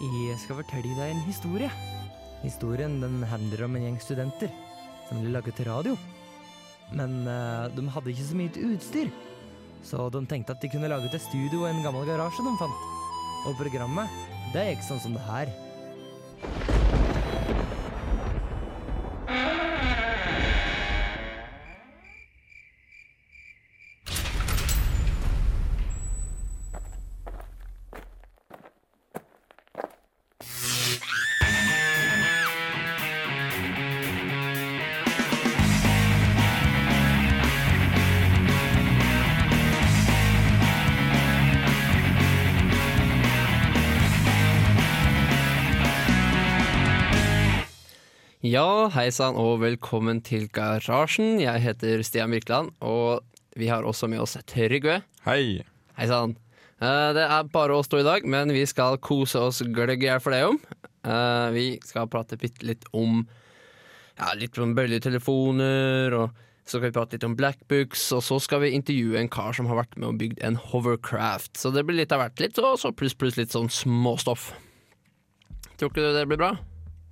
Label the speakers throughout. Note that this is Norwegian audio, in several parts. Speaker 1: Jeg skal fortelle deg en historie. Historien den handler om en gjeng studenter som ville lage til radio. Men eh, de hadde ikke så mye til utstyr, så de tenkte at de kunne lage til studio og en gammel garasje de fant. Og programmet, det gikk sånn som det her.
Speaker 2: Ja, hei sann og velkommen til Garasjen. Jeg heter Stian Birkeland, og vi har også med oss Trygve.
Speaker 3: Hei.
Speaker 2: Hei sann. Eh, Det er bare oss to i dag, men vi skal kose oss gløgg i hjel for det om. Eh, Vi skal prate bitte litt om ja, litt om bølgetelefoner, og så skal vi prate litt om blackbooks, og så skal vi intervjue en kar som har vært med og bygd en hovercraft. Så det blir litt av hvert litt, og så pluss pluss litt sånn småstoff. Tror ikke du det blir bra?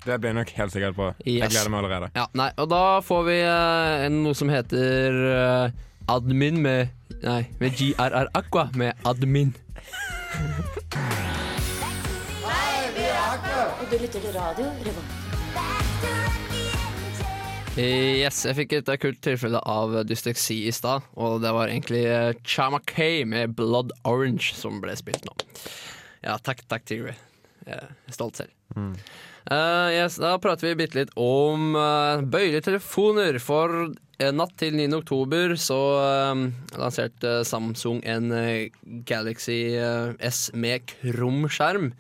Speaker 3: Det blir nok helt sikkert bra. Jeg
Speaker 2: Yes.
Speaker 3: gleder meg allerede.
Speaker 2: Ja, nei, og da får vi eh, en- noe som heter eh, admin med Nei, med GRR Aqua med admin.
Speaker 4: Og du lytter til radio Revolt.
Speaker 2: Eh, Yes, jeg fikk et akkurat tilfelle av dysleksi i stad, og det var egentlig eh, Chama K med Blood Orange som ble spilt nå. Ja, takk, takk, Tigre. Jeg er stolt selv. Eh, yes, da prater vi bitte litt om eh, bøyletelefoner. For eh, natt til 9. oktober så eh, lanserte Samsung en eh, Galaxy eh, S med krum skjerm.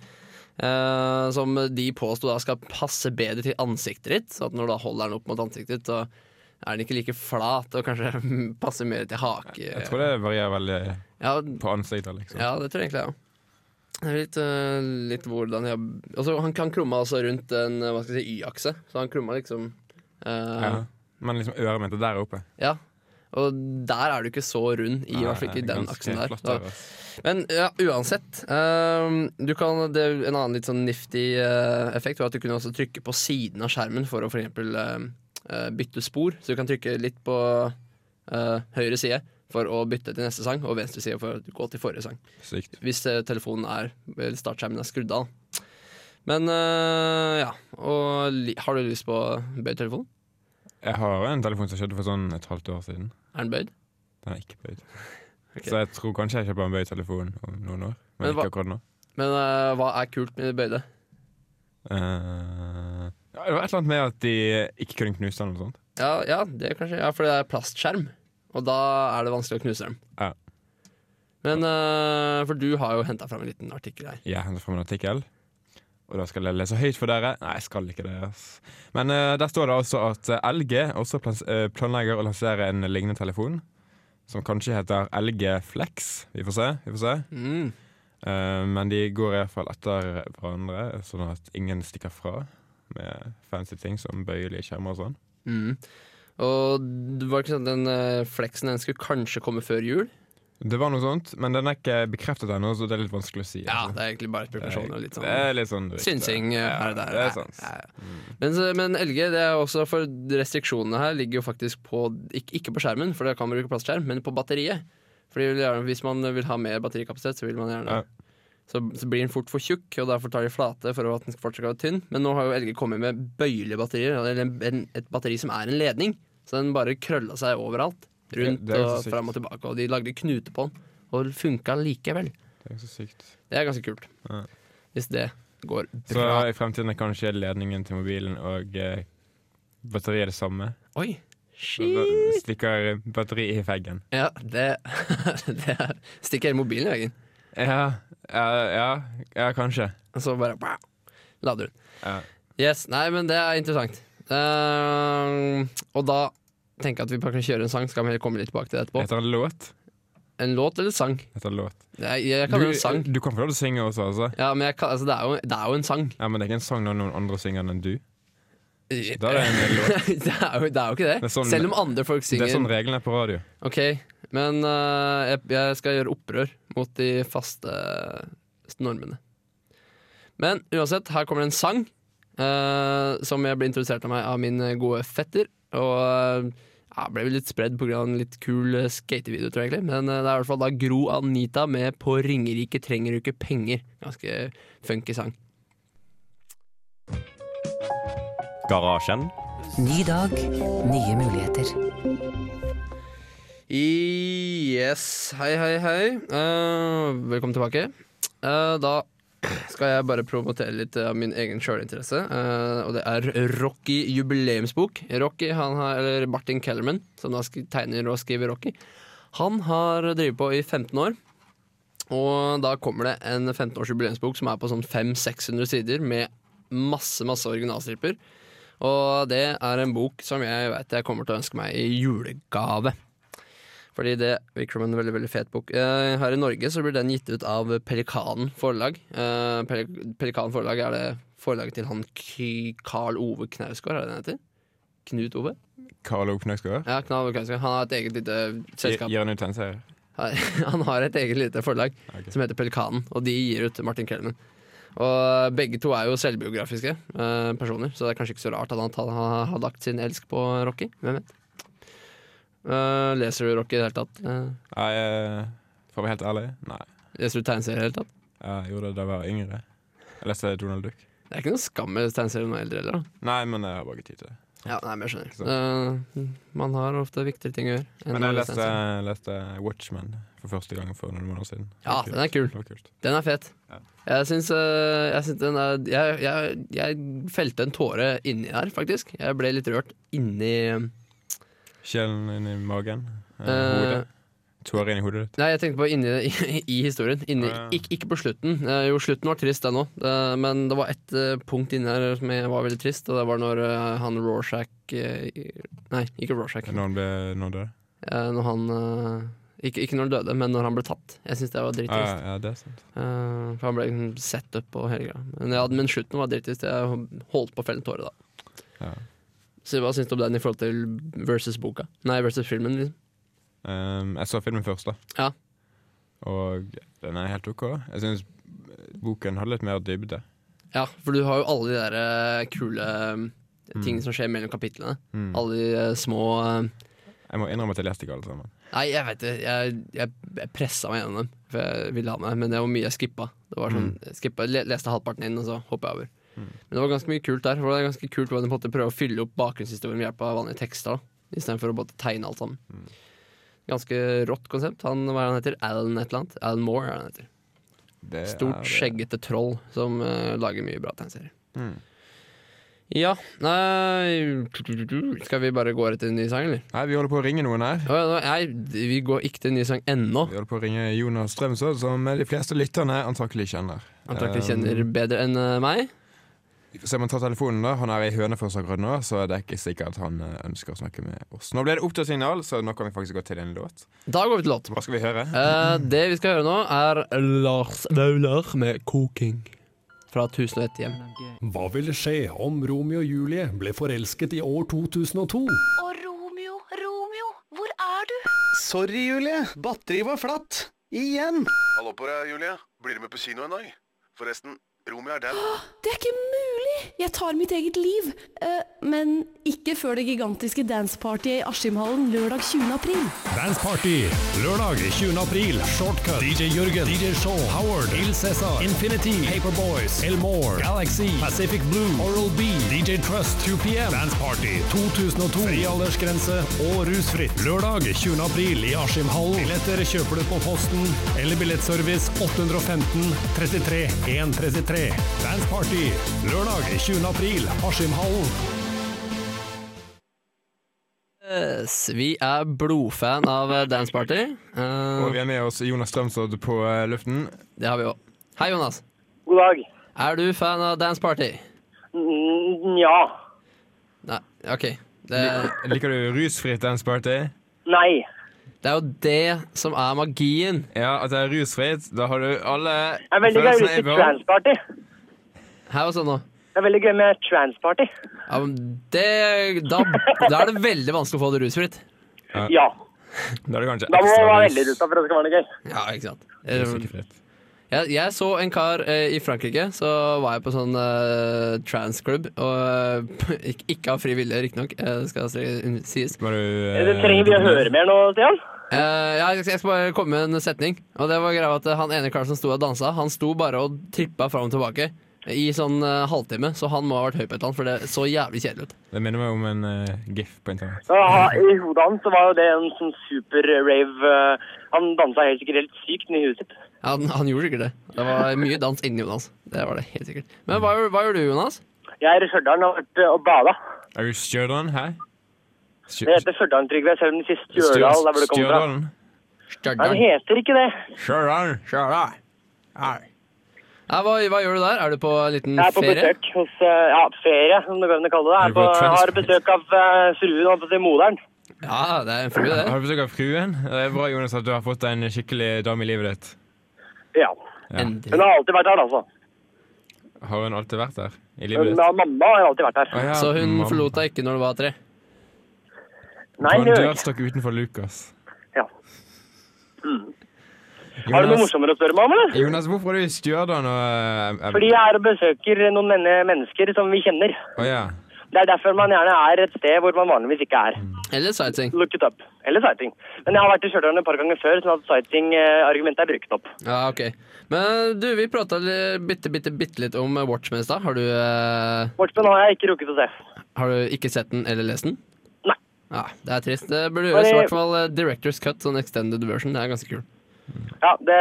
Speaker 2: Eh, som de påsto da skal passe bedre til ansiktet ditt. Så at når du da holder den opp mot ansiktet ditt, så er den ikke like flat og kanskje passer mer til hake.
Speaker 3: Jeg tror det varierer veldig
Speaker 2: ja,
Speaker 3: på ansiktet. liksom.
Speaker 2: ja, det tror jeg egentlig jeg ja. Det er litt, øh, litt hvordan jeg altså, Han kan krumme altså rundt en øh, hva skal jeg si, Y-akse, så han krumma liksom øh, ja.
Speaker 3: Ja. Men liksom øret mitt er der oppe.
Speaker 2: Og der er du ikke så rund, i hvert fall ikke i den
Speaker 3: Ganske
Speaker 2: aksen der.
Speaker 3: flott
Speaker 2: Da.
Speaker 3: øre.
Speaker 2: Men ja, uansett. øhm, du kan, det er en annen litt sånn nifty øh, effekt var at du kunne også trykke på siden av skjermen for å for eksempel øhm, øh, bytte spor. Så du kan trykke litt på øh, høyre side for å bytte til neste sang, og venstre side for å gå til forrige sang.
Speaker 3: Sykt.
Speaker 2: Hvis eh, telefonen er eller startskjermen er skrudd av. Men eh, ja. Og li har du lyst på bøyd telefon?
Speaker 3: Jeg har en telefon som skjedde for sånn et halvt år siden.
Speaker 2: Er den bøyd?
Speaker 3: Den er ikke bøyd.
Speaker 2: Ok.
Speaker 3: Så jeg tror kanskje jeg kjøper en bøyd telefon om noen år. Men,
Speaker 2: Men hva-
Speaker 3: ikke akkurat nå.
Speaker 2: Men eh, hva er kult med det bøyde?
Speaker 3: Eh, ja, det var et eller annet med at de ikke kunne knuse den. og sånt.
Speaker 2: Ja, ja, det er kanskje, ja, for det er plastskjerm, og da er det vanskelig å knuse dem.
Speaker 3: Ja.
Speaker 2: Men eh, For du har jo henta fram en liten artikkel her.
Speaker 3: Jeg hentet frem en artikkel, og da skal jeg lese høyt for dere. Nei, jeg skal ikke det. ass. Men eh, der står det altså at eh, LG også plans eh, planlegger å lansere en lignende telefon. Som kanskje heter LG Flex. Vi får se. vi får se.
Speaker 2: Mm.
Speaker 3: Eh, men de går i hvert fall etter hverandre, sånn at ingen stikker fra med fancy ting som bøyelige skjermer og sånn.
Speaker 2: Mm. Og det var ikke sånn at den eh, flexen den skulle kanskje komme før jul?
Speaker 3: Det var noe sånt, men den er ikke bekreftet ennå, så det er litt vanskelig å si.
Speaker 2: Ja,
Speaker 3: altså.
Speaker 2: det er egentlig bare spekulasjoner. og litt sånn.
Speaker 3: det er litt sånn rykte.
Speaker 2: Synsing eh,
Speaker 3: Ja,
Speaker 2: her og der.
Speaker 3: Det
Speaker 2: Ja,
Speaker 3: er sant.
Speaker 2: ja, ja. Men, så- men LG, det er også for restriksjonene her ligger jo faktisk på Ikke, ikke på skjermen, for det kan man bruke plastskjerm, men på batteriet. Fordi vil gjerne, Hvis man vil ha mer batterikapasitet, så vil man gjerne
Speaker 3: Ja.
Speaker 2: så, så blir den fort for tjukk, og derfor tar de flate for at den skal fortsatt være tynn. Men nå har jo LG kommet med bøyelige batterier, eller en, en, et batteri som er en ledning. Så den bare krølla seg overalt. Rundt
Speaker 3: Det- det er jo så
Speaker 2: og
Speaker 3: sykt.
Speaker 2: fram og tilbake. Og de lagde knute på den, og den funka likevel.
Speaker 3: Det er jo så sykt.
Speaker 2: Det er ganske kult.
Speaker 3: Ja.
Speaker 2: Hvis det går
Speaker 3: Så
Speaker 2: bra.
Speaker 3: i fremtiden er kanskje ledningen til mobilen og eh, batteriet det samme.
Speaker 2: Oi!
Speaker 3: Så da stikker batteri i veggen.
Speaker 2: Ja, det, det er- stikker hele mobilen i veggen.
Speaker 3: Ja, ja, ja, ja kanskje.
Speaker 2: Og så bare wow, lader hun.
Speaker 3: Ja.
Speaker 2: Yes, Nei, men det er interessant. Ehm, og da tenker jeg at vi bare kan kjøre en sang, så kan vi heller komme litt tilbake til det etterpå.
Speaker 3: Heter det låt?
Speaker 2: En låt eller sang?
Speaker 3: Heter det låt?
Speaker 2: Jeg, jeg
Speaker 3: Du,
Speaker 2: kaller det en sang.
Speaker 3: du kan få lov til å synge også, altså.
Speaker 2: Ja, men jeg, kan- altså, det, er jo, det er jo en sang.
Speaker 3: Ja, men det er ikke en sang når noen andre synger den enn du.
Speaker 2: Det
Speaker 3: Da er det en låt.
Speaker 2: er jo, det er jo ikke det.
Speaker 3: Det er sånn-
Speaker 2: Selv om andre folk
Speaker 3: Det
Speaker 2: synger.
Speaker 3: er sånn reglene er på radio.
Speaker 2: Ok, men eh, jeg, jeg skal gjøre opprør mot de faste normene. eh, Men uansett, her kommer det en sang eh, som jeg ble introdusert av meg av min eh, gode fetter. Og eh, ja, ble vel litt spredd pga. en litt kul eh, skatevideo, tror jeg egentlig. Men eh, det er i hvert fall da Gro Anita med 'På Ringerike trenger du ikke penger'. Ganske funky sang.
Speaker 5: Garasjen.
Speaker 6: Ny dag, nye muligheter.
Speaker 2: Yes. Hei, hei, hei. Eh, velkommen tilbake. Eh, da skal jeg bare promotere litt av min egen sjølinteresse. eh, og det er Rocky jubileumsbok. Rocky, han har, eller Martin Kellerman, som da skri- tegner og skriver Rocky, han har drevet på i 15 år. Og da kommer det en 15-års jubileumsbok som er på sånn 500-600 sider med masse, masse originalstriper. Og det er en bok som jeg vet jeg kommer til å ønske meg i julegave. Fordi det virker som en veldig veldig fet bok. Eh, her i Norge så blir den gitt ut av Pelikanen forlag. Eh, Peli- Pelikanen forlag er det forlaget til han K- Karl Ove Knausgård, er det den heter? Knut Ove?
Speaker 3: Karl Ove Knausgård.
Speaker 2: Ja, Knut Ove Knausgård. Han har et eget lite selskap.
Speaker 3: Gir han ut tegneserier?
Speaker 2: Han har et eget lite forlag
Speaker 3: Ok.
Speaker 2: som heter Pelikanen, og de gir ut Martin Kellerman. Og begge to er jo selvbiografiske eh, personer, så det er kanskje ikke så rart at han ta- har har lagt sin elsk på Rocky. Hvem vet? Eh, leser du Rocky i det hele tatt? Eh,
Speaker 3: Nei, eh, for å være helt ærlig, nei.
Speaker 2: leser du tegneserier i det hele tatt?
Speaker 3: Jeg gjorde det da jeg var yngre. Jeg leste Donald Duck.
Speaker 2: Det er ikke noe skam med tegneserier når man er eldre heller. da.
Speaker 3: Nei, men jeg har bare ikke tid til det.
Speaker 2: Ja, nei, men jeg
Speaker 3: Ikke
Speaker 2: skjønner. Eh, man har ofte viktigere ting å gjøre. enn
Speaker 3: Men
Speaker 2: å
Speaker 3: jeg
Speaker 2: lese
Speaker 3: leste,
Speaker 2: tegneserier.
Speaker 3: leste Watchmen for første gang for noen måneder siden.
Speaker 2: Ja,
Speaker 3: Det var
Speaker 2: den er kul.
Speaker 3: Det var kult.
Speaker 2: Den er fet.
Speaker 3: Ja.
Speaker 2: Jeg syns, øh, jeg syns den er jeg, jeg, jeg felte en tåre inni der, faktisk. Jeg ble litt rørt inni øh,
Speaker 3: Sjelen inn i magen. eh, hodet. Tårer inn i hodet ditt.
Speaker 2: Nei, jeg tenkte på inni i, i historien. Inni,
Speaker 3: Ah, ja.
Speaker 2: ikke, ikke på slutten. Eh, jo, slutten var trist, den òg. men det var ett eh, punkt inni der som jeg var veldig trist, og det var når eh, han Rorschach eh, Nei, ikke Rorschach.
Speaker 3: Når han ble når han døde.
Speaker 2: Eh, når han eh, ikke, ikke når han døde, men når han ble tatt. Jeg syns det var
Speaker 3: Ah, Ja,
Speaker 2: drittrist.
Speaker 3: ja, det er sant.
Speaker 2: Eh, for han ble liksom sett opp og hele greia. Men, ja, men slutten var drittrist. Jeg holdt på å felle en tåre da.
Speaker 3: Ja.
Speaker 2: Så hva syns du om den i forhold til versus boka? Nei, versus filmen, liksom.
Speaker 3: Ehm, jeg så filmen først, da.
Speaker 2: Ja.
Speaker 3: Og den er helt OK. Jeg syns boken hadde litt mer dybde.
Speaker 2: Ja, for du har jo alle de der eh, kule eh, ting som skjer mellom kapitlene.
Speaker 3: Mm.
Speaker 2: Alle de eh, små eh,
Speaker 3: Jeg må innrømme at jeg leste ikke alle sammen.
Speaker 2: Nei, jeg vet det. Jeg, jeg, jeg pressa meg gjennom dem, for jeg ville ha med, men det var mye jeg skippa. Det var sånn, jeg skippa, le- Leste halvparten inn, og så hoppa jeg over. Men det var ganske mye kult der. For det er ganske kult hvordan de på en måte prøver å fylle opp bakgrunnshistorien ved hjelp av vanlige tekster, da, istedenfor å både tegne alt sammen. Ganske rått konsept. Han, hva er det han heter? Alan et eller annet? Alan Moore er det han heter.
Speaker 3: Det er
Speaker 2: Stort,
Speaker 3: det.
Speaker 2: skjeggete troll som eh, lager mye bra tegneserier.
Speaker 3: Mm.
Speaker 2: Ja, nei Skal vi bare gå rett til en ny sang, eller?
Speaker 3: Nei, vi holder på å ringe noen her.
Speaker 2: Å, ja, Nei, vi går ikke til en ny sang ennå.
Speaker 3: Vi holder på å ringe Jonas Strømsø, som de fleste lytterne antakelig kjenner.
Speaker 2: Antakelig
Speaker 3: Ehm,
Speaker 2: kjenner bedre enn eh, meg.
Speaker 3: Vi får se om han tar telefonen da Han er i Hønefoss akkurat nå, så det er ikke sikkert at han eh, ønsker å snakke med oss. Nå ble det opp til signal, så nå kan vi faktisk gå til en låt.
Speaker 2: Da går vi til låt.
Speaker 3: Hva skal vi høre?
Speaker 2: Eh, det vi skal høre nå, er Lars Vaular med 'Koking' fra 1001 hjem.
Speaker 7: Hva ville skje om Romeo og Julie ble forelsket i år 2002?
Speaker 8: Og Romeo, Romeo, hvor er du?
Speaker 9: Sorry, Julie. Batteriet var flatt. Igjen.
Speaker 10: Hallo på deg, Julie. Blir du med på kino en dag? Forresten, Romeo er dau.
Speaker 8: Det er ikke mulig! Jeg tar mitt eget liv. Eh, men ikke før det gigantiske dansepartyet i Askimhallen lørdag 20. april.
Speaker 7: Dance Party, lørdag 20. april. Shortcut, DJ Jørgen, DJ Shaw, Howard, Il Cæsar, Infinity, Paperboys, Elmore, Galaxy, Pacific Blue, Oral B, DJ Trust, 2PM, Dance Party 2002. Fri aldersgrense og rusfritt. Lørdag 20. april i Askimhallen. Billetter kjøper du på Posten eller billettservice 815 33 133. Dance Party, lørdag 20. april, Askimhallen.
Speaker 2: Yes, vi er blodfan av eh, Dance Party. Eh,
Speaker 3: Og vi er med oss Jonas Strømsød på eh, luften.
Speaker 2: det har vi òg. Hei, Jonas.
Speaker 9: God dag.
Speaker 2: Er du fan av Dance Party?
Speaker 9: Mm, Nja.
Speaker 2: Nei, OK. Det,
Speaker 3: Liker du rusfritt dance party?
Speaker 9: Nei.
Speaker 2: det er jo det som er magien.
Speaker 3: Ja, at det er rusfritt. Da har du alle
Speaker 9: Det er veldig gøy
Speaker 3: følelsene i
Speaker 9: med
Speaker 3: behold.
Speaker 9: transparty.
Speaker 2: Her og sånn nå.
Speaker 9: Det er veldig gøy med transparty.
Speaker 2: Ja, men det, da, da er det veldig vanskelig å få det rusfritt.
Speaker 9: Ja.
Speaker 3: Da er det kanskje
Speaker 9: Da må
Speaker 3: ekstra
Speaker 9: man være
Speaker 3: rus-
Speaker 9: veldig rusa for at det skal være noe gøy.
Speaker 2: Ja, ikke sant?
Speaker 3: rus ikke
Speaker 2: Jeg,
Speaker 3: fritt.
Speaker 2: Jeg, jeg så en kar eh, i Frankrike, så var jeg på sånn eh, transclub. Og eh, ikke, ikke av fri vilje, riktignok, eh, skal si- sies.
Speaker 11: Eh, Det trenger vi å høre mer nå, Stian.
Speaker 2: Eh, ja, jeg skal bare komme med en setning. Og det var greia at Han ene karen som sto og dansa, han sto bare og trippa fram og tilbake i sånn eh, halvtime. Så han må ha vært høy på et eller annet, for det så jævlig kjedelig ut.
Speaker 3: Det minner meg om en eh, gif på internett.
Speaker 11: Ja, I hodet hans så var jo det en sånn super-rave eh, Han dansa helt sikkert helt sykt inni huet sitt.
Speaker 2: Ja, han, han gjorde sikkert det. Det var mye dans inni hodet hans. Det var det helt sikkert. Men hva, gjør- hva gjør du, Jonas?
Speaker 11: Jeg er i Stjørdal og har vært eh, og bada.
Speaker 3: Er du Stjørdal? Hæ? Stjø-
Speaker 11: Det heter Stjørdal, Trygve, selv om det sier Stjørdal der hvor det kommer fra.
Speaker 3: Stjørdalen?
Speaker 11: Nei, det heter ikke det.
Speaker 3: Stjørdal.
Speaker 2: Stjørdal. Nei, hva, hva gjør du der? Er du på en liten
Speaker 11: Jeg er på
Speaker 2: ferie?
Speaker 11: besøk hos eh, Ja, ferie, som det går an å kalle det. Jeg
Speaker 2: Er
Speaker 11: er
Speaker 2: du
Speaker 11: på,
Speaker 2: på trans-
Speaker 11: har besøk av eh, fruen, holdt på å si moderen.
Speaker 2: Ja, det er en frue, det.
Speaker 3: Har du besøk av fruen? Det er bra, Jonas, at du har fått deg en skikkelig dame i livet ditt.
Speaker 11: Ja. Hun har alltid vært her, altså.
Speaker 3: Har hun alltid vært der? I livet
Speaker 11: Hun,
Speaker 3: ditt?
Speaker 11: ja, mamma har alltid vært her.
Speaker 3: Å ja, Mm,
Speaker 2: Så hun
Speaker 3: mamma.
Speaker 2: forlot deg ikke når du var tre?
Speaker 11: Nei,
Speaker 3: På en
Speaker 11: det gjør hun ikke.
Speaker 3: dørstokk utenfor Lukas.
Speaker 11: Ja. Mm. Har du noe morsommere å spørre meg om, eller?
Speaker 3: Jonas, hvorfor er du i Stjørdal og eh,
Speaker 11: Fordi jeg er og besøker noen menne- mennesker som vi kjenner.
Speaker 3: Å ja.
Speaker 11: Det er derfor man gjerne er et sted hvor man vanligvis ikke er.
Speaker 3: Mm.
Speaker 2: Eller sightseeing.
Speaker 11: Look it up. Eller sighting. Men jeg har vært i Stjørdal et par ganger før, sånn at sighting-argumentet er brukt opp.
Speaker 2: Ja, ok. Men du, vi prata bitte, bitte, bitte litt om Watchmen i stad. Har du eh,
Speaker 11: Watchmen har jeg ikke rukket å se.
Speaker 2: Har du ikke sett den eller lest den?
Speaker 11: Nei.
Speaker 2: Ja, det er trist. Det burde
Speaker 11: Var
Speaker 2: gjøres i
Speaker 11: det-
Speaker 2: hvert fall eh, Directors Cut, sånn extended version. Det er ganske kul.
Speaker 11: Ja, det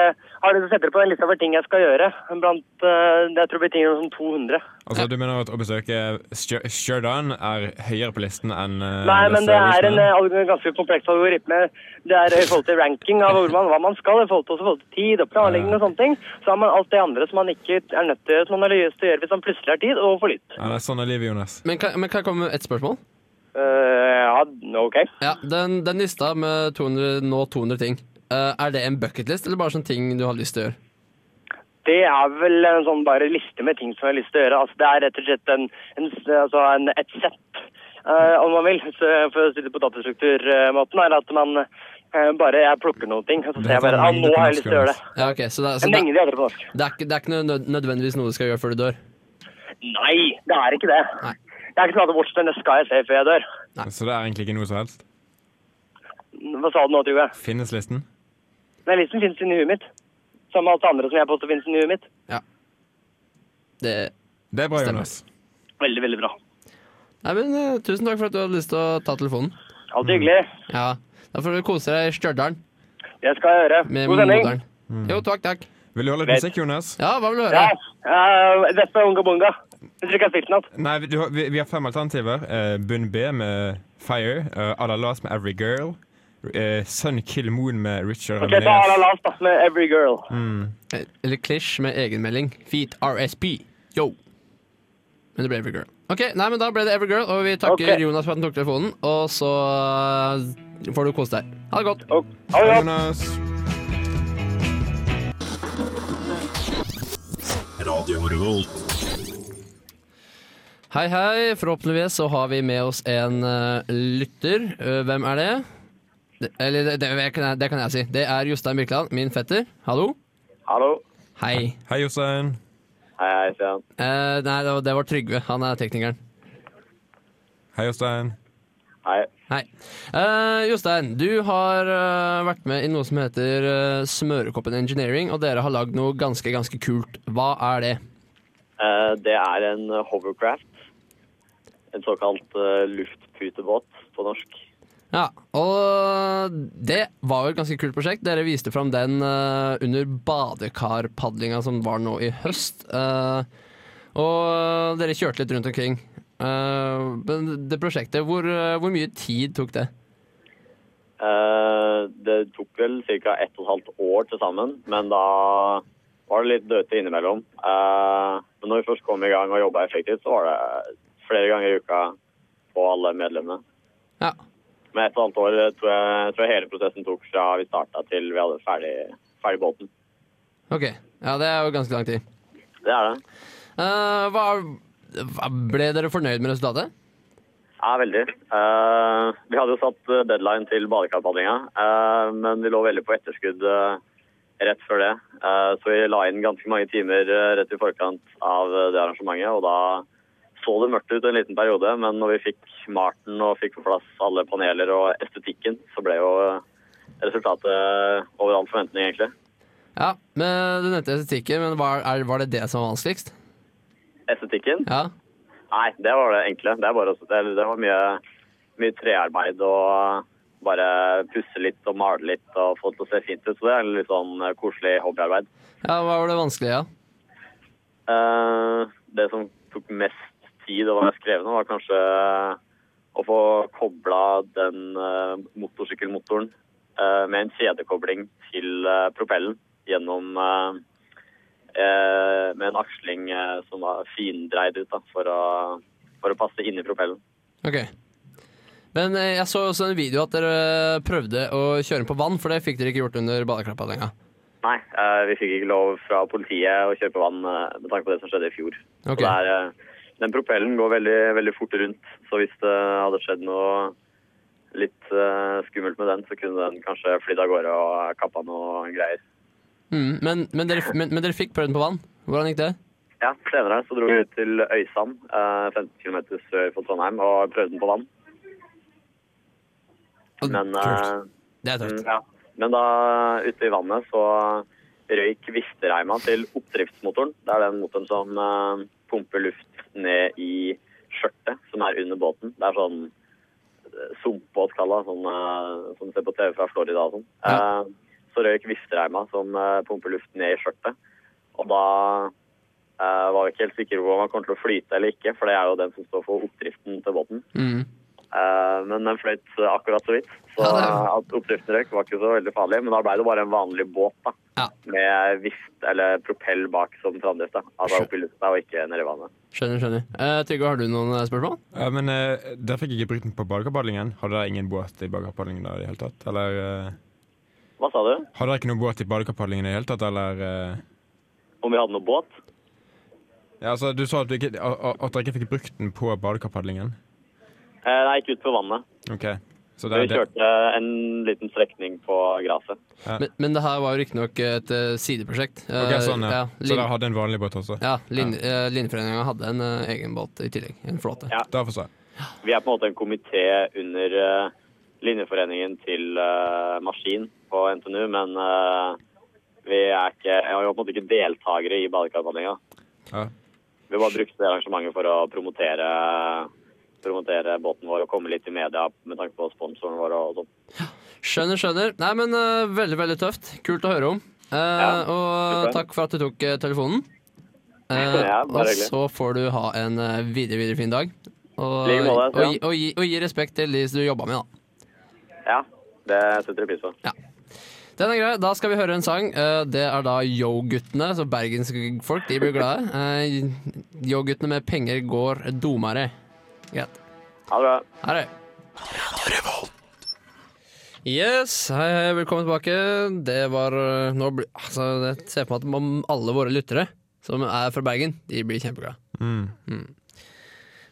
Speaker 11: har du setter på en liste over ting jeg skal gjøre. Blant, eh, jeg tror det blir ting som 200.
Speaker 3: Altså, du mener at å besøke Stjø- Stjørdal er høyere på listen enn eh,
Speaker 11: Nei, men det er en
Speaker 3: Stjørdal?
Speaker 11: eh, alg- ganske kompleks algoritme. Det er eh, i forhold til ranking av hvor man, hva man skal, i forhold til, også i forhold til tid og planlegging og sånne ting. Så har man alt det andre som man ikke er nødt til, som man har lyst til å gjøre hvis man plutselig har tid og får lyst.
Speaker 3: Ja, det er sånn er livet, Jonas.
Speaker 2: Men kan, men kan jeg komme med ett spørsmål?
Speaker 11: Eh, ja, ok.
Speaker 2: Ja, Den, den lista med 200, nå 200 ting, eh, er det en bucketlist eller bare sånne ting du har lyst til å gjøre?
Speaker 11: Det er vel en sånn bare liste med ting som jeg har lyst til å gjøre. Altså, det er rett og slett en, en, s- altså en, et sett, eh, om man vil. Så for å si det på datastrukturmåten, er at man eh, bare jeg plukker noen ting, og så ser jeg bare ja, nå har jeg lyst til å gjøre det.
Speaker 2: Ja, ok, så det, er- så
Speaker 11: En
Speaker 2: det,
Speaker 11: mengde heter det på norsk.
Speaker 2: det, er, ikke- det er ikke nød- nødvendigvis noe du skal gjøre før du dør?
Speaker 11: Nei, det er ikke det. Det er ikke sånn at Watch the Sky jeg ser før jeg dør.
Speaker 3: Så det er egentlig ikke noe som helst?
Speaker 11: Hva sa du nå, Trygve?
Speaker 3: Finnes listen?
Speaker 11: Den listen finnes inni huet mitt. Som alt det andre som jeg påstår finnes inni huet mitt.
Speaker 2: Det,
Speaker 3: det er bra,
Speaker 2: Stemmer.
Speaker 3: Jonas.
Speaker 11: Veldig, veldig bra.
Speaker 2: Nei, men eh, Tusen takk for at du hadde lyst til å ta telefonen.
Speaker 11: Alltid hyggelig.
Speaker 2: Ja, Da får du kose deg i Stjørdal
Speaker 11: Det skal jeg gjøre.
Speaker 2: med
Speaker 11: God sending.
Speaker 2: moderen. Jo, takk, takk.
Speaker 3: Vil du ha litt
Speaker 11: Greit.
Speaker 3: musikk, Jonas?
Speaker 2: Ja, hva vil du høre?
Speaker 11: Ja. Uh, Vespa Unga Bunga. Hvis du ikke har spilt den opp.
Speaker 3: Nei, vi, du har- vi, vi har fem alternativer. Eh, Bunn B med Fire. Uh, Alalas med Every Girl. eh, Sun Kill Moon med Richard
Speaker 11: Ok, ta
Speaker 3: Ramirez.
Speaker 11: Ala Las da, med Every Girl.
Speaker 12: Mm.
Speaker 2: Eh, Eller Klish med egenmelding. Feet RSP. Yo. Men det ble Every Girl. Ok, nei, men Da ble det Every Girl, og vi takker
Speaker 11: Ok.
Speaker 2: Jonas for at han tok telefonen. Og så eh, får du kose deg. Ha det godt.
Speaker 11: Ha det godt.
Speaker 3: Jonas.
Speaker 2: Hei, hei. Forhåpentligvis så har vi med oss en eh, lytter. Eh, hvem er det? det eller det, det, kan jeg, det kan jeg si. Det er Jostein Birkeland, min fetter. Hallo.
Speaker 12: Hallo.
Speaker 2: Hei.
Speaker 3: Hei, Jostein.
Speaker 12: Hei, hei, Stian.
Speaker 2: Eh, nei, det var, det var Trygve. Han er teknikeren.
Speaker 3: Hei, Jostein.
Speaker 12: Hei.
Speaker 2: Hei. Eh, Jostein, du har eh, vært med i noe som heter eh, Smørekoppen Engineering, og dere har lagd noe ganske, ganske kult. Hva er det?
Speaker 12: Eh, det er en hovercraft. En såkalt eh, luftputebåt på norsk.
Speaker 2: Ja, og det var jo et ganske kult prosjekt. Dere viste fram den eh, under badekarpadlinga som var nå i høst. Eh, og dere kjørte litt rundt omkring. Eh, men det prosjektet, hvor, eh, hvor mye tid tok det?
Speaker 12: Eh, det tok vel ca. ett og et halvt år til sammen, men da var det litt døte innimellom. Eh, men når vi først kom i gang og jobba effektivt, så var det flere ganger i uka på alle medlemmene.
Speaker 2: Ja.
Speaker 12: Med ett og et halvt år eh, tror jeg, tror jeg hele prosessen tok fra vi starta til vi hadde ferdig, ferdig båten.
Speaker 2: Ok, ja, det er jo ganske lang tid.
Speaker 12: Det er det.
Speaker 2: Eh, hva, hva, ble dere fornøyd med resultatet?
Speaker 12: Ja, veldig. Eh, vi hadde jo satt eh, deadline til badekarpadlinga, eh, men vi lå veldig på etterskudd eh,
Speaker 11: rett før det. Eh, Så vi la inn ganske mange timer eh, rett i forkant av eh, det arrangementet, og da så det mørkt ut en liten periode, men når vi fikk Marten og fikk på plass alle paneler og estetikken, så ble jo eh, resultatet eh, over all forventning, egentlig.
Speaker 2: Ja, men Du nevnte estetikken, men var, er, var det det som var vanskeligst?
Speaker 11: Estetikken?
Speaker 2: Ja.
Speaker 11: Nei, det var det enkle. Det, er bare, å- det, det var mye, mye trearbeid og bare pusse litt og male litt og få det til å se fint ut. Så det er litt sånn eh, koselig hobbyarbeid.
Speaker 2: Ja, Hva var det vanskelige? Ja?
Speaker 11: Eh, det som tok mest tid og var skrevne, var kanskje eh, å få kobla den eh, motorsykkelmotoren eh, med en kjedekobling til eh, propellen gjennom eh, eh, med en aksling eh, som var findreid ut da, for, å, for å passe inn i propellen.
Speaker 2: Ok. Men eh, jeg så også en video at dere eh, prøvde å kjøre den på vann, for det fikk dere ikke gjort under badekarplappa.
Speaker 11: Nei, eh, vi fikk ikke lov fra politiet å kjøpe vann eh, med tanke på det som skjedde i fjor. Så
Speaker 2: Ok.
Speaker 11: det er, eh, den propellen går veldig, veldig fort rundt, så hvis det hadde skjedd noe litt eh, skummelt med den, så kunne den kanskje flydd av gårde og kappa noe greier.
Speaker 2: Mm, men, men, dere, men, men dere fikk prøvd den på vann. Hvordan gikk det?
Speaker 11: Ja, senere så dro vi ut til Øysand, eh, 15 km sør for Trondheim, og prøvde den på vann. Men, eh,
Speaker 2: Det er
Speaker 11: tøft. Ja. Men da ute i vannet så røyk viftereima til oppdriftsmotoren. Det er den motoren som eh, pumper luft ned i skjørtet som er under båten. Det er sånn eh, sumpbåt kalla, sånn, eh, som du ser på TV fra Florida og sånn. Eh, så røyk viftereima som eh, pumper luft ned i skjørtet. Og da eh, var vi ikke helt sikre på om han kom til å flyte eller ikke, for det er jo den som står for oppdriften til båten.
Speaker 3: Mm.
Speaker 2: Mm,
Speaker 11: Eh, men den fløyt eh, akkurat så vidt. Så eh, at oppdriften røyk var ikke så veldig farlig. Men da ble det bare en vanlig båt da, med vift eller propell bak som framdrift. da. Altså opp i lufta og ikke nedi vannet.
Speaker 2: Skjønner, skjønner. Eh, Trygve, har du noen eh, spørsmål?
Speaker 3: Ja, men eh, der fikk jeg ikke brukt den på badekarpadlingen. Hadde dere ingen båt i badekarpadlingen da i det hele tatt? Eller eh,
Speaker 11: Hva sa du?
Speaker 3: Hadde dere ikke noen båt i badekarpadlingen i det hele tatt, eller eh?
Speaker 11: Om vi hadde noe båt?
Speaker 3: Ja, altså, du sa at, du ikke, a- a- at dere ikke fikk brukt den på badekarpadlingen.
Speaker 11: Eh, nei, ikke ut på vannet.
Speaker 3: OK. Så det,
Speaker 11: Vi
Speaker 3: det,
Speaker 11: kjørte en liten strekning på graset.
Speaker 2: Men, men det her var jo riktignok et eh, sideprosjekt. Eh,
Speaker 3: Ok, sånn, ja. Så
Speaker 2: Lin-
Speaker 3: dere hadde en vanlig båt også?
Speaker 2: Ja, lin, eh, Linjeforeninga hadde en eh, egen båt i tillegg. En flåte.
Speaker 11: Ja. Vi er på en måte en komité under eh, linjeforeningen til eh, Maskin på NTNU, men eh, vi er ikke, jeg er jo på en måte ikke deltakere i badekarbehandlinga.
Speaker 3: Ja.
Speaker 11: Vi bare brukte det arrangementet for å promotere, promotere båten vår og komme litt i media med tanke på sponsoren vår og sånn.
Speaker 2: Skjønner, skjønner. Nei, men eh, veldig, veldig tøft. Kult å høre om. Eh, og
Speaker 11: super.
Speaker 2: takk for at du tok eh, telefonen. Eh,
Speaker 11: Ja, bare
Speaker 2: og
Speaker 11: hyggelig.
Speaker 2: så får du ha en eh, videre, videre fin dag. Og,
Speaker 11: I like måte,
Speaker 2: og,
Speaker 11: ja.
Speaker 2: gi- og, gi, og gi respekt til de som du jobba med, da.
Speaker 11: Ja, det setter vi pris på.
Speaker 2: Den er grei. Da skal vi høre en sang. Eh, Det er da Yo-guttene. Så bergenske folk, de blir glade. Eh, Yo-guttene med penger går domare. Greit.
Speaker 11: Ha det bra.
Speaker 2: Her er det. Yes, hei, hei, velkommen tilbake. Det var eh, nå blir- altså, Jeg ser for meg at om alle våre lyttere som er fra Bergen, de blir kjempeglade.
Speaker 3: Mm.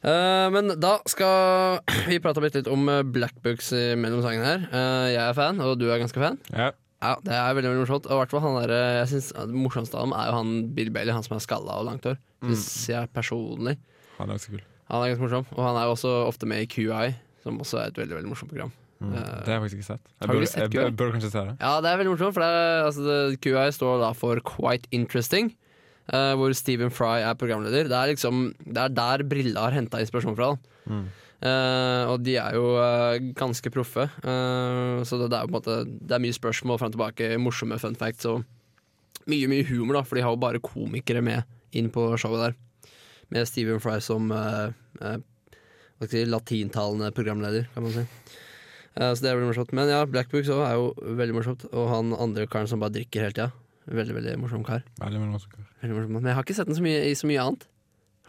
Speaker 2: Eh, men da skal vi prate litt, litt om eh, Blackbooks i- mellom sangene her. Eh, jeg er fan, og du er ganske fan.
Speaker 3: Ja.
Speaker 2: Det er veldig veldig morsomt. Og i hvert fall han der, eh, jeg synes at Det morsomste av dem er jo han Bill Bailey, han som er skalla og langt hår. Synes jeg personlig.
Speaker 3: Han er ganske kul.
Speaker 2: Han er ganske morsom. Og han er jo også ofte med i QI, som også er et veldig veldig morsomt program.
Speaker 3: Mm.
Speaker 2: Eh,
Speaker 3: Det har jeg faktisk ikke sett. Jeg
Speaker 2: har du
Speaker 3: burde,
Speaker 2: ikke sett
Speaker 3: jeg, jeg
Speaker 2: QI?
Speaker 3: burde kanskje se det.
Speaker 2: Ja, det er veldig morsomt, for det er, altså, det, QI står da for Quite Interesting, eh, hvor Stephen Fry er programleder. Det er, liksom, det er der Brilla har henta inspirasjon fra. Da.
Speaker 3: Mm.
Speaker 2: Eh, og de er jo eh, ganske proffe, eh, så det, det er jo på en måte Det er mye spørsmål fram og tilbake, morsomme fun facts og mye mye humor, da, for de har jo bare komikere med inn på showet der. Med Stephen Fry som eh, eh, hva skal jeg si, latintalende programleder, kan man si. Eh, så det er veldig morsomt. Men ja, Blackbook så er jo veldig morsomt. Og han andre karen som bare drikker hele tida. Veldig veldig morsom kar.
Speaker 3: Veldig mange også.
Speaker 2: Veldig morsom. Men jeg har ikke sett den så mye, i så mye annet.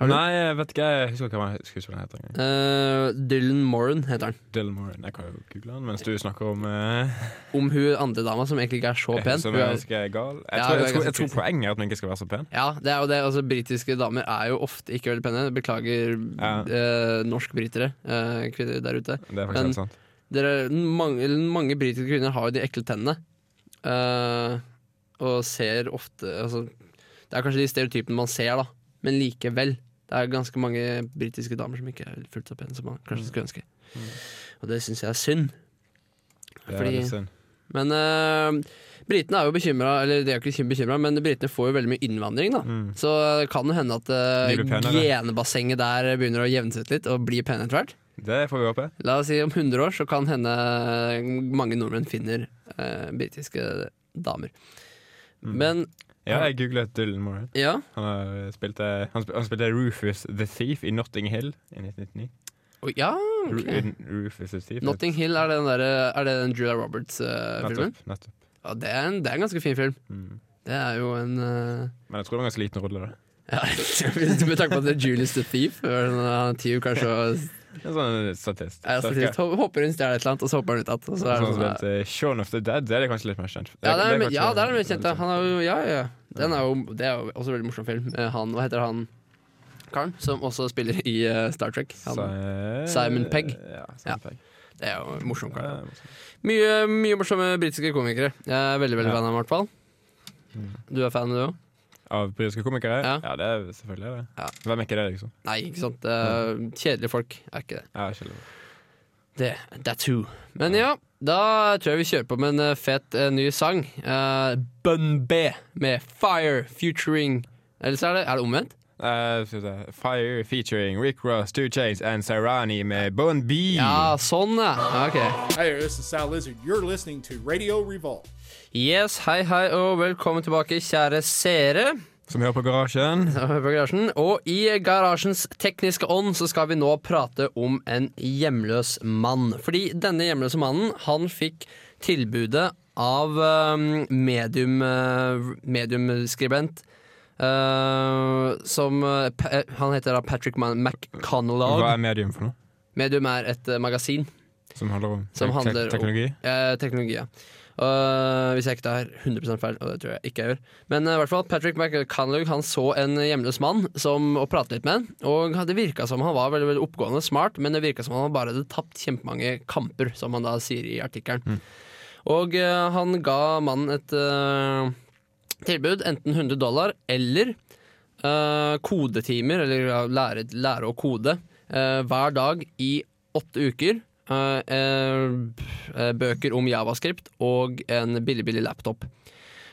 Speaker 2: Har du?
Speaker 3: Nei, jeg vet ikke. Jeg husker ikke hva jeg husker ikke hva den heter. engang.
Speaker 2: Eh, Dylan Moran heter han.
Speaker 3: Dylan Moran. Jeg kan jo google han mens du snakker om eh,
Speaker 2: Om hun andre dama som egentlig ikke er så pen.
Speaker 3: Som
Speaker 2: Hun
Speaker 3: er
Speaker 2: er-
Speaker 3: ganske gal. Jeg,
Speaker 2: Ja,
Speaker 3: tror,
Speaker 2: hun er
Speaker 3: jeg, tror,
Speaker 2: ganske
Speaker 3: jeg tror poenget er at man ikke skal være så pen.
Speaker 2: Ja, det er jo det. Altså, britiske damer er jo ofte ikke veldig pene. Beklager eh, norsk-britere, eh, kvinner der ute.
Speaker 3: Det er faktisk
Speaker 2: Men
Speaker 3: helt sant.
Speaker 2: dere- mange, mange britiske kvinner har jo de ekle tennene. Eh, og ser ofte altså, Det er kanskje de stereotypene man ser, da, men likevel. Det er ganske mange britiske damer som ikke er fullt så pene som man kanskje skulle ønske. Og det syns jeg er synd.
Speaker 3: Det er
Speaker 2: Fordi-
Speaker 3: veldig synd.
Speaker 2: Men eh, britene er jo bekymra, eller de er jo ikke bekymra, men britene får jo veldig mye innvandring, da. Så det kan jo hende at eh,
Speaker 3: De Mm. blir penere.
Speaker 2: genbassenget der begynner å jevne seg ut litt, og blir pene etter hvert.
Speaker 3: Det får vi håpe.
Speaker 2: La oss si om 100 år så kan hende mange nordmenn finner eh, britiske damer. Men
Speaker 3: Mm. Ja, jeg googlet Dylan Moran.
Speaker 2: Ja.
Speaker 3: Han, har spilte, han, spil, han spilte Rufus the Thief i Notting Hill i 1999.
Speaker 2: Oi, ja, Mm, ok.
Speaker 3: Ru- in- Rufus the Thief.
Speaker 2: Notting Hill, er det den, der, er det den Julia Roberts-filmen?
Speaker 3: Nettopp, nettopp. Mm.
Speaker 2: ja, det er, en, det er en ganske fin film. Det er jo en eh,
Speaker 3: Men jeg tror det var en ganske liten rolle, da.
Speaker 2: ja, Med tanke på at det er Julius the Thief, er det en, han er tyv kanskje og
Speaker 3: En sånn statist.
Speaker 2: er statist, Hå- Hopper hun stjeler et eller annet, og så hopper hun ut igjen. og så er det
Speaker 3: Sånn som
Speaker 2: sånn,
Speaker 3: heter Shaun of the Dead, det er kanskje litt mer kjent.
Speaker 2: Ja, det er,
Speaker 3: kanskje-
Speaker 2: ja, det er den mest kjente. Han er jo, ja, ja. ja. Den er jo, det er jo også en veldig morsom film. Eh, Han, hva heter han karen som også spiller i eh, Star Trek? Han,
Speaker 3: Si-
Speaker 2: Simon Pegg.
Speaker 3: sånn Ja,
Speaker 2: Ja. Det er jo en morsom kar. ja. Mye, mye morsomme britiske komikere. Jeg er veldig veldig
Speaker 3: Ja.
Speaker 2: fan av ham, i hvert fall. Du er fan, du òg?
Speaker 3: Av britiske komikere?
Speaker 2: Ja.
Speaker 3: Ja, det er selvfølgelig det. Hvem er ikke det, liksom?
Speaker 2: Nei, ikke sant. Det er Kjedelige folk er ikke det.
Speaker 3: Ja, skjønner.
Speaker 2: Det, that's who. Men ja, da tror jeg vi kjører på med en eh, fet eh, ny sang. Uh, Bun B med Fire featuring Eller så er det, er det omvendt?
Speaker 3: Eh, skal vi se. Fire featuring Rick Ross, Two Chains and Sarani med Bon B.
Speaker 2: Ja, sånn, ja. Ok.
Speaker 13: Hey, this is Sal Lizard. You're listening to Radio Revolt.
Speaker 2: Yes, hei hei og velkommen tilbake, kjære seere.
Speaker 3: Som hører på Garasjen.
Speaker 2: Hører på garasjen. Og i garasjens tekniske ånd så skal vi nå prate om en hjemløs mann. Fordi denne hjemløse mannen, han fikk tilbudet av eh, medium, eh, mediumskribent eh, som eh, Pa- eh, Han heter da Patrick Ma- McConnellag.
Speaker 3: Hva er medium for noe?
Speaker 2: Medium er et eh, magasin.
Speaker 3: Som handler om
Speaker 2: Som
Speaker 3: tek-
Speaker 2: handler
Speaker 3: tek- teknologi?
Speaker 2: Om, eh, teknologi, ja. Og hvis jeg ikke tar 100 feil, og det tror jeg ikke jeg gjør. Men eh, i hvert fall, Patrick McCanlug han så en hjemløs mann som, og pratet litt med han. Og det virka som han var veldig, veldig oppgående smart, men det virka som han bare hadde tapt kjempemange kamper, som han da sier i artikkelen. Og eh, han ga mannen et eh, tilbud, enten 100 dollar eller eh, kodetimer, eller ja, lære, lære å kode, eh, hver dag i åtte uker. eh, eh, b- eh, bøker om javascript og en billig, billig laptop.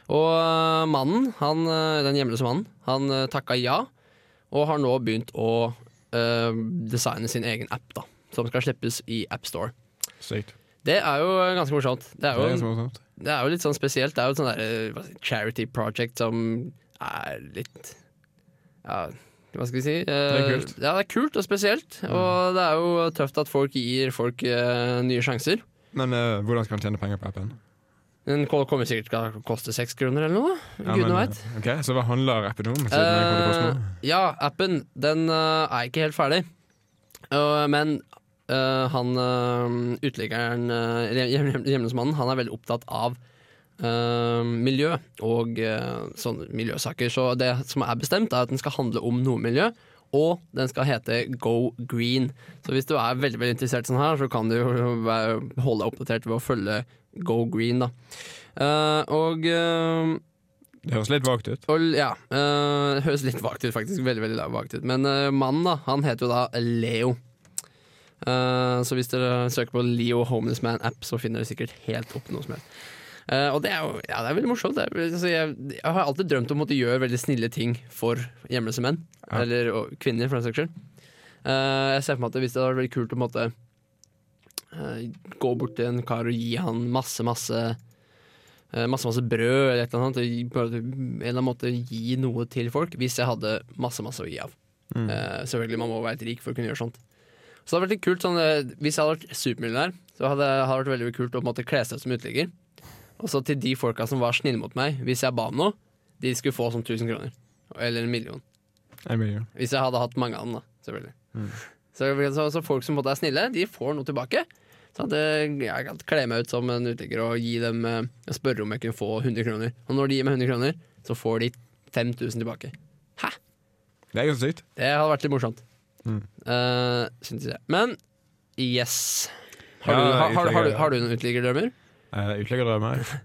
Speaker 2: Og eh, mannen, han, eh, den hjemløse mannen, han eh, takka ja, og har nå begynt å eh, designe sin egen app, da, som skal slippes i AppStore.
Speaker 3: Sykt.
Speaker 2: Det er jo eh, ganske morsomt. Det er jo,
Speaker 3: Det er ganske morsomt.
Speaker 2: det er jo litt sånn spesielt. Det er jo et sånn der, eh, hva skal jeg si, charity project som er litt Ja, hva skal vi si?
Speaker 3: er
Speaker 2: Eh,
Speaker 3: kult. Mm.
Speaker 2: Ja, det er kult og spesielt. Og det er jo tøft at folk gir folk eh, nye sjanser.
Speaker 3: Men eh, hvordan skal han tjene penger på appen?
Speaker 2: Den ko- kommer sikkert til å koste seks kroner eller noe.
Speaker 3: Ja,
Speaker 2: Gudene
Speaker 3: men, eh,
Speaker 2: veit.
Speaker 3: Ok, Så hva handler appen om? siden
Speaker 2: Eh,
Speaker 3: den kommer til å koste noe?
Speaker 2: ja, appen den eh, er ikke helt ferdig. Eh, men eh, han eh, uteliggeren, eh, eller hjem- hjem- hjemløsmannen, han er veldig opptatt av eh, miljø og eh, sånne miljøsaker. Så det som er bestemt, er at den skal handle om nordmiljø. Og den skal hete Go Green. Så hvis du er veldig veldig interessert sånn her, så kan du jo være, holde deg oppdatert ved å følge Go Green, da. Eh, og eh,
Speaker 3: Det høres litt vagt ut.
Speaker 2: Og, ja, eh, det høres litt vagt ut, faktisk. Veldig, veldig vagt ut. Men eh, mannen, da, han heter jo da Leo. Eh, så hvis dere søker på Leo Homeless Man-app, så finner dere sikkert helt opp noe som helst. Eh, og det er jo ja, det er veldig morsomt. Det er, altså, jeg, jeg har alltid drømt om å måtte gjøre veldig snille ting for hjemløse menn. Eller og, kvinner, for den saks skyld. Eh, jeg ser for meg at det- hvis det hadde vært veldig kult å på en måte eh, gå bort til en kar og gi han masse, masse eh, Masse masse brød eller et eller annet. Og gi- på en eller annen måte gi noe til folk, hvis jeg hadde masse masse å gi av.
Speaker 14: Mm.
Speaker 2: Eh, selvfølgelig, man må være litt rik for å kunne gjøre sånt. Så det hadde vært litt kult sånn, eh, Hvis jeg hadde vært supermillionær, så hadde det hadde vært veldig kult å på en måte kle seg ut som uteligger. Og så til de folka som var snille mot meg, hvis jeg ba om noe, de skulle få sånn 1000 kroner. Eller en million.
Speaker 3: En million.
Speaker 2: Hvis jeg hadde hatt mange av dem, da. Selvfølgelig.
Speaker 3: Mm.
Speaker 2: Så, så, så folk som på en måte er snille, de får noe tilbake. Så at eh, jeg kan kle meg ut som en uteligger og gi dem eh, og spørre om jeg kunne få 100 kroner. Og når de gir meg 100 kroner, så får de 5000 tilbake.
Speaker 3: Det er ganske sykt.
Speaker 2: Det hadde vært litt morsomt.
Speaker 3: Mm.
Speaker 2: Uh, synes jeg. Men yes. Har,
Speaker 3: Ja,
Speaker 2: du, har, har, har, du,
Speaker 3: utlegger. Eh,
Speaker 2: har du noen uteliggerdrømmer?
Speaker 3: Uh, Utleggerdrømmer.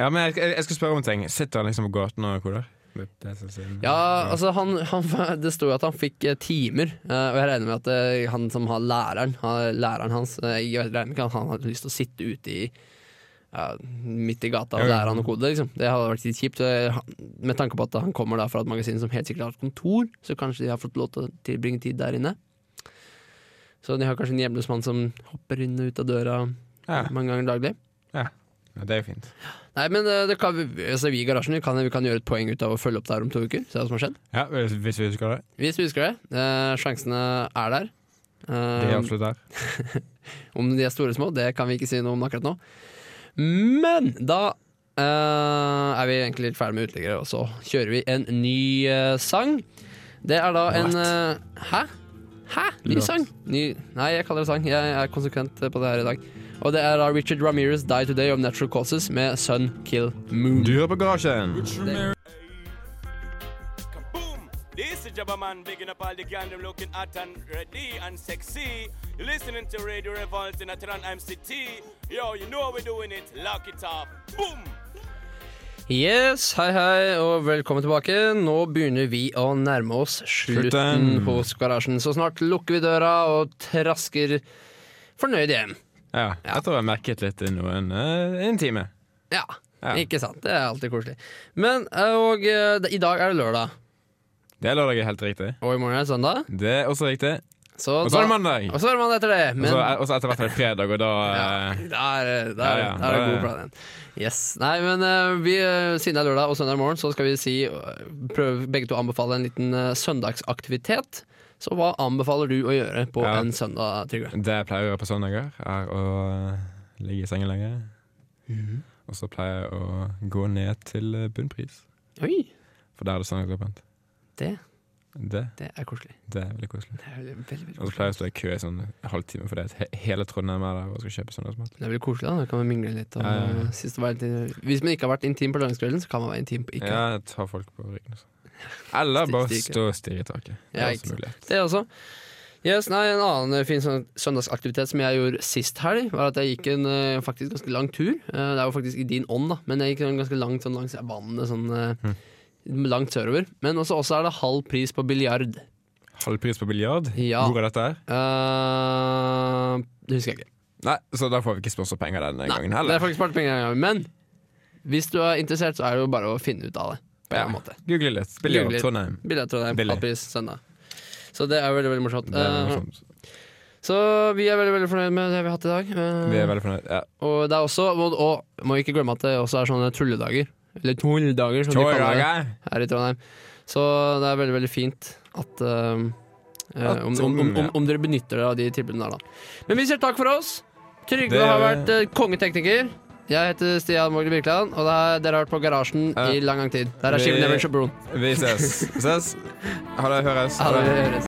Speaker 3: Ja, men jeg, jeg, jeg skal spørre om en ting. Sitter han liksom på gaten og koder? Det, det synes jeg-
Speaker 2: Ja, altså han, han, Det sto jo at han fikk eh, timer, eh, og jeg regner med at eh, han som har læreren, har- læreren hans eh, Jeg regner ikke at han hadde lyst til å sitte ute i ja, midt i gata og
Speaker 3: Ja, ja.
Speaker 2: lære han å kode. Liksom. Det hadde vært litt kjipt. eh, han- Med tanke på at han kommer da fra et magasin som helt sikkert har et kontor, så kanskje de har fått lov til å tilbringe tid der inne. Så de har kanskje en hjemløs mann som hopper inn og ut av døra mange ganger daglig.
Speaker 3: Ja, det er jo fint.
Speaker 2: Nei, men eh, det kan, vi- altså, vi i garasjen vi kan, vi kan gjøre et poeng ut av å følge opp det her om to uker. Se hva som har skjedd.
Speaker 3: Ja, hvis hvis vi husker det.
Speaker 2: Hvis vi husker det. eh, sjansene er der. Eh,
Speaker 3: Det er altså- absolutt der.
Speaker 2: Om de er store eller små, det kan vi ikke si noe om akkurat nå. Men da eh, er vi egentlig litt ferdig med uteliggere, og så kjører vi en ny eh, sang. Det er da en eh, Hæ? Hæ? Ny
Speaker 14: Låt.
Speaker 2: sang? Ny, nei, jeg kaller det sang. Jeg er konsekvent på det her i dag. Og det er da Richard Ramirez' 'Die Today of Natural Causes' med 'Sun Kill Moon'.
Speaker 3: Du hører på Garasjen.
Speaker 15: This is Jabba Man bigging up all the gang them looking hot and ready and sexy. You're listening to Radio Revolt in Atran MCT. Yo, you know how we're doing it. Lock it up. Boom!
Speaker 2: Yes, hei hei og velkommen tilbake. Nå begynner vi å nærme oss slutten
Speaker 3: Slutten.
Speaker 2: hos garasjen. Så snart lukker vi døra og trasker fornøyd hjem.
Speaker 3: Ja, jeg tror jeg merket litt i noen eh, en time.
Speaker 2: Ja,
Speaker 3: Ja.
Speaker 2: ikke sant? Det er alltid koselig. Men, og eh, det- i dag er det lørdag.
Speaker 3: Det er lørdag, helt riktig.
Speaker 2: Og i morgen er det søndag.
Speaker 3: Det er også riktig.
Speaker 2: Så
Speaker 3: Og så er det
Speaker 2: da-
Speaker 3: mandag.
Speaker 2: Og så er det mandag etter det.
Speaker 3: Og
Speaker 2: Men
Speaker 3: så og så etter hvert er det fredag, og da eh,
Speaker 2: Da er, da
Speaker 3: Ja,
Speaker 2: er,
Speaker 3: ja,
Speaker 2: da er det
Speaker 3: da er-
Speaker 2: god plan igjen. Yes. Nei, men eh, vi, eh, siden det er lørdag og søndag morgen, så skal vi si eh, prøv begge to å anbefale en liten eh, søndagsaktivitet. Så hva anbefaler du å gjøre på
Speaker 3: Ja.
Speaker 2: en søndag, Trygve?
Speaker 3: Det jeg pleier å gjøre på søndager, er å eh, ligge i sengen lenge.
Speaker 2: Mhm.
Speaker 3: Og så pleier jeg å gå ned til eh, bunnpris.
Speaker 2: Oi.
Speaker 3: For der er det søndagsåpent.
Speaker 2: Det,
Speaker 3: Det,
Speaker 2: det er koselig.
Speaker 3: det er veldig koselig.
Speaker 2: Det er veldig, veldig, veldig
Speaker 3: Og så pleier jeg å stå i kø i sånn en halvtime fordi at he- hele Trondheim er der og skal kjøpe søndagsmat.
Speaker 2: Det er veldig koselig, da. Da kan man mingle litt. eh, Og,
Speaker 3: Ja, ja, ja.
Speaker 2: Synes det var litt hvis man ikke har vært intim på lørdagskvelden, så kan man være intim på ikke.
Speaker 3: Ja, ta folk på ryggen. og sånn. Eller bare
Speaker 2: Stikke.
Speaker 3: stå og stirre i taket. Det
Speaker 2: Ja,
Speaker 3: er
Speaker 2: ikke
Speaker 3: også
Speaker 2: sant.
Speaker 3: mulig.
Speaker 2: Det også. Yes, nei, En annen fin sånn søndagsaktivitet som jeg gjorde sist helg, var at jeg gikk en eh, faktisk ganske lang tur. Eh, det er jo faktisk i din ånd, da, men jeg gikk en ganske langt sånn langs vannet. Sånn, eh,
Speaker 3: Mm.
Speaker 2: Langt sørover. Men også, også er det halv pris på biljard.
Speaker 3: Halv pris på biljard?
Speaker 2: Ja.
Speaker 3: Hvor er dette her?
Speaker 2: Eh, det husker jeg ikke.
Speaker 3: Nei, så da får vi ikke sponsorpenger denne gangen
Speaker 2: Det er
Speaker 3: heller.
Speaker 2: faktisk bare penger denne gangen, Men hvis du er interessert, så er det jo bare å finne ut av det. På en måte.
Speaker 3: Google litt. Biljard
Speaker 2: Google.
Speaker 3: Trondheim.
Speaker 2: Biljard Trondheim,
Speaker 3: Billig.
Speaker 2: halv pris søndag. Så det er veldig, veldig morsomt.
Speaker 3: Det er veldig
Speaker 2: Eh,
Speaker 3: morsomt.
Speaker 2: Så vi er veldig, veldig fornøyd med det vi har hatt i dag. Eh,
Speaker 3: Vi er veldig fornøyd. Ja.
Speaker 2: Og det er også, og, og må ikke glemme at det også er sånne tulledager. Eller tulledager, som de kaller
Speaker 3: Tulledager.
Speaker 2: det her i Trondheim. Så det er veldig, veldig fint at eh, eh,
Speaker 3: At- sånn,
Speaker 2: om, om, om, om, om dere benytter dere av de tilbudene der, da. Men vi sier takk for oss. Trygve
Speaker 3: Det-
Speaker 2: har vært eh, kongetekniker. Jeg heter Stian Mogli Birkeland, og det er, dere har vært på Garasjen i lang, lang tid. Der er Skiven Evers og Broen.
Speaker 3: Vi ses. ses. Ha det. Høres.
Speaker 2: Ha det. Høres.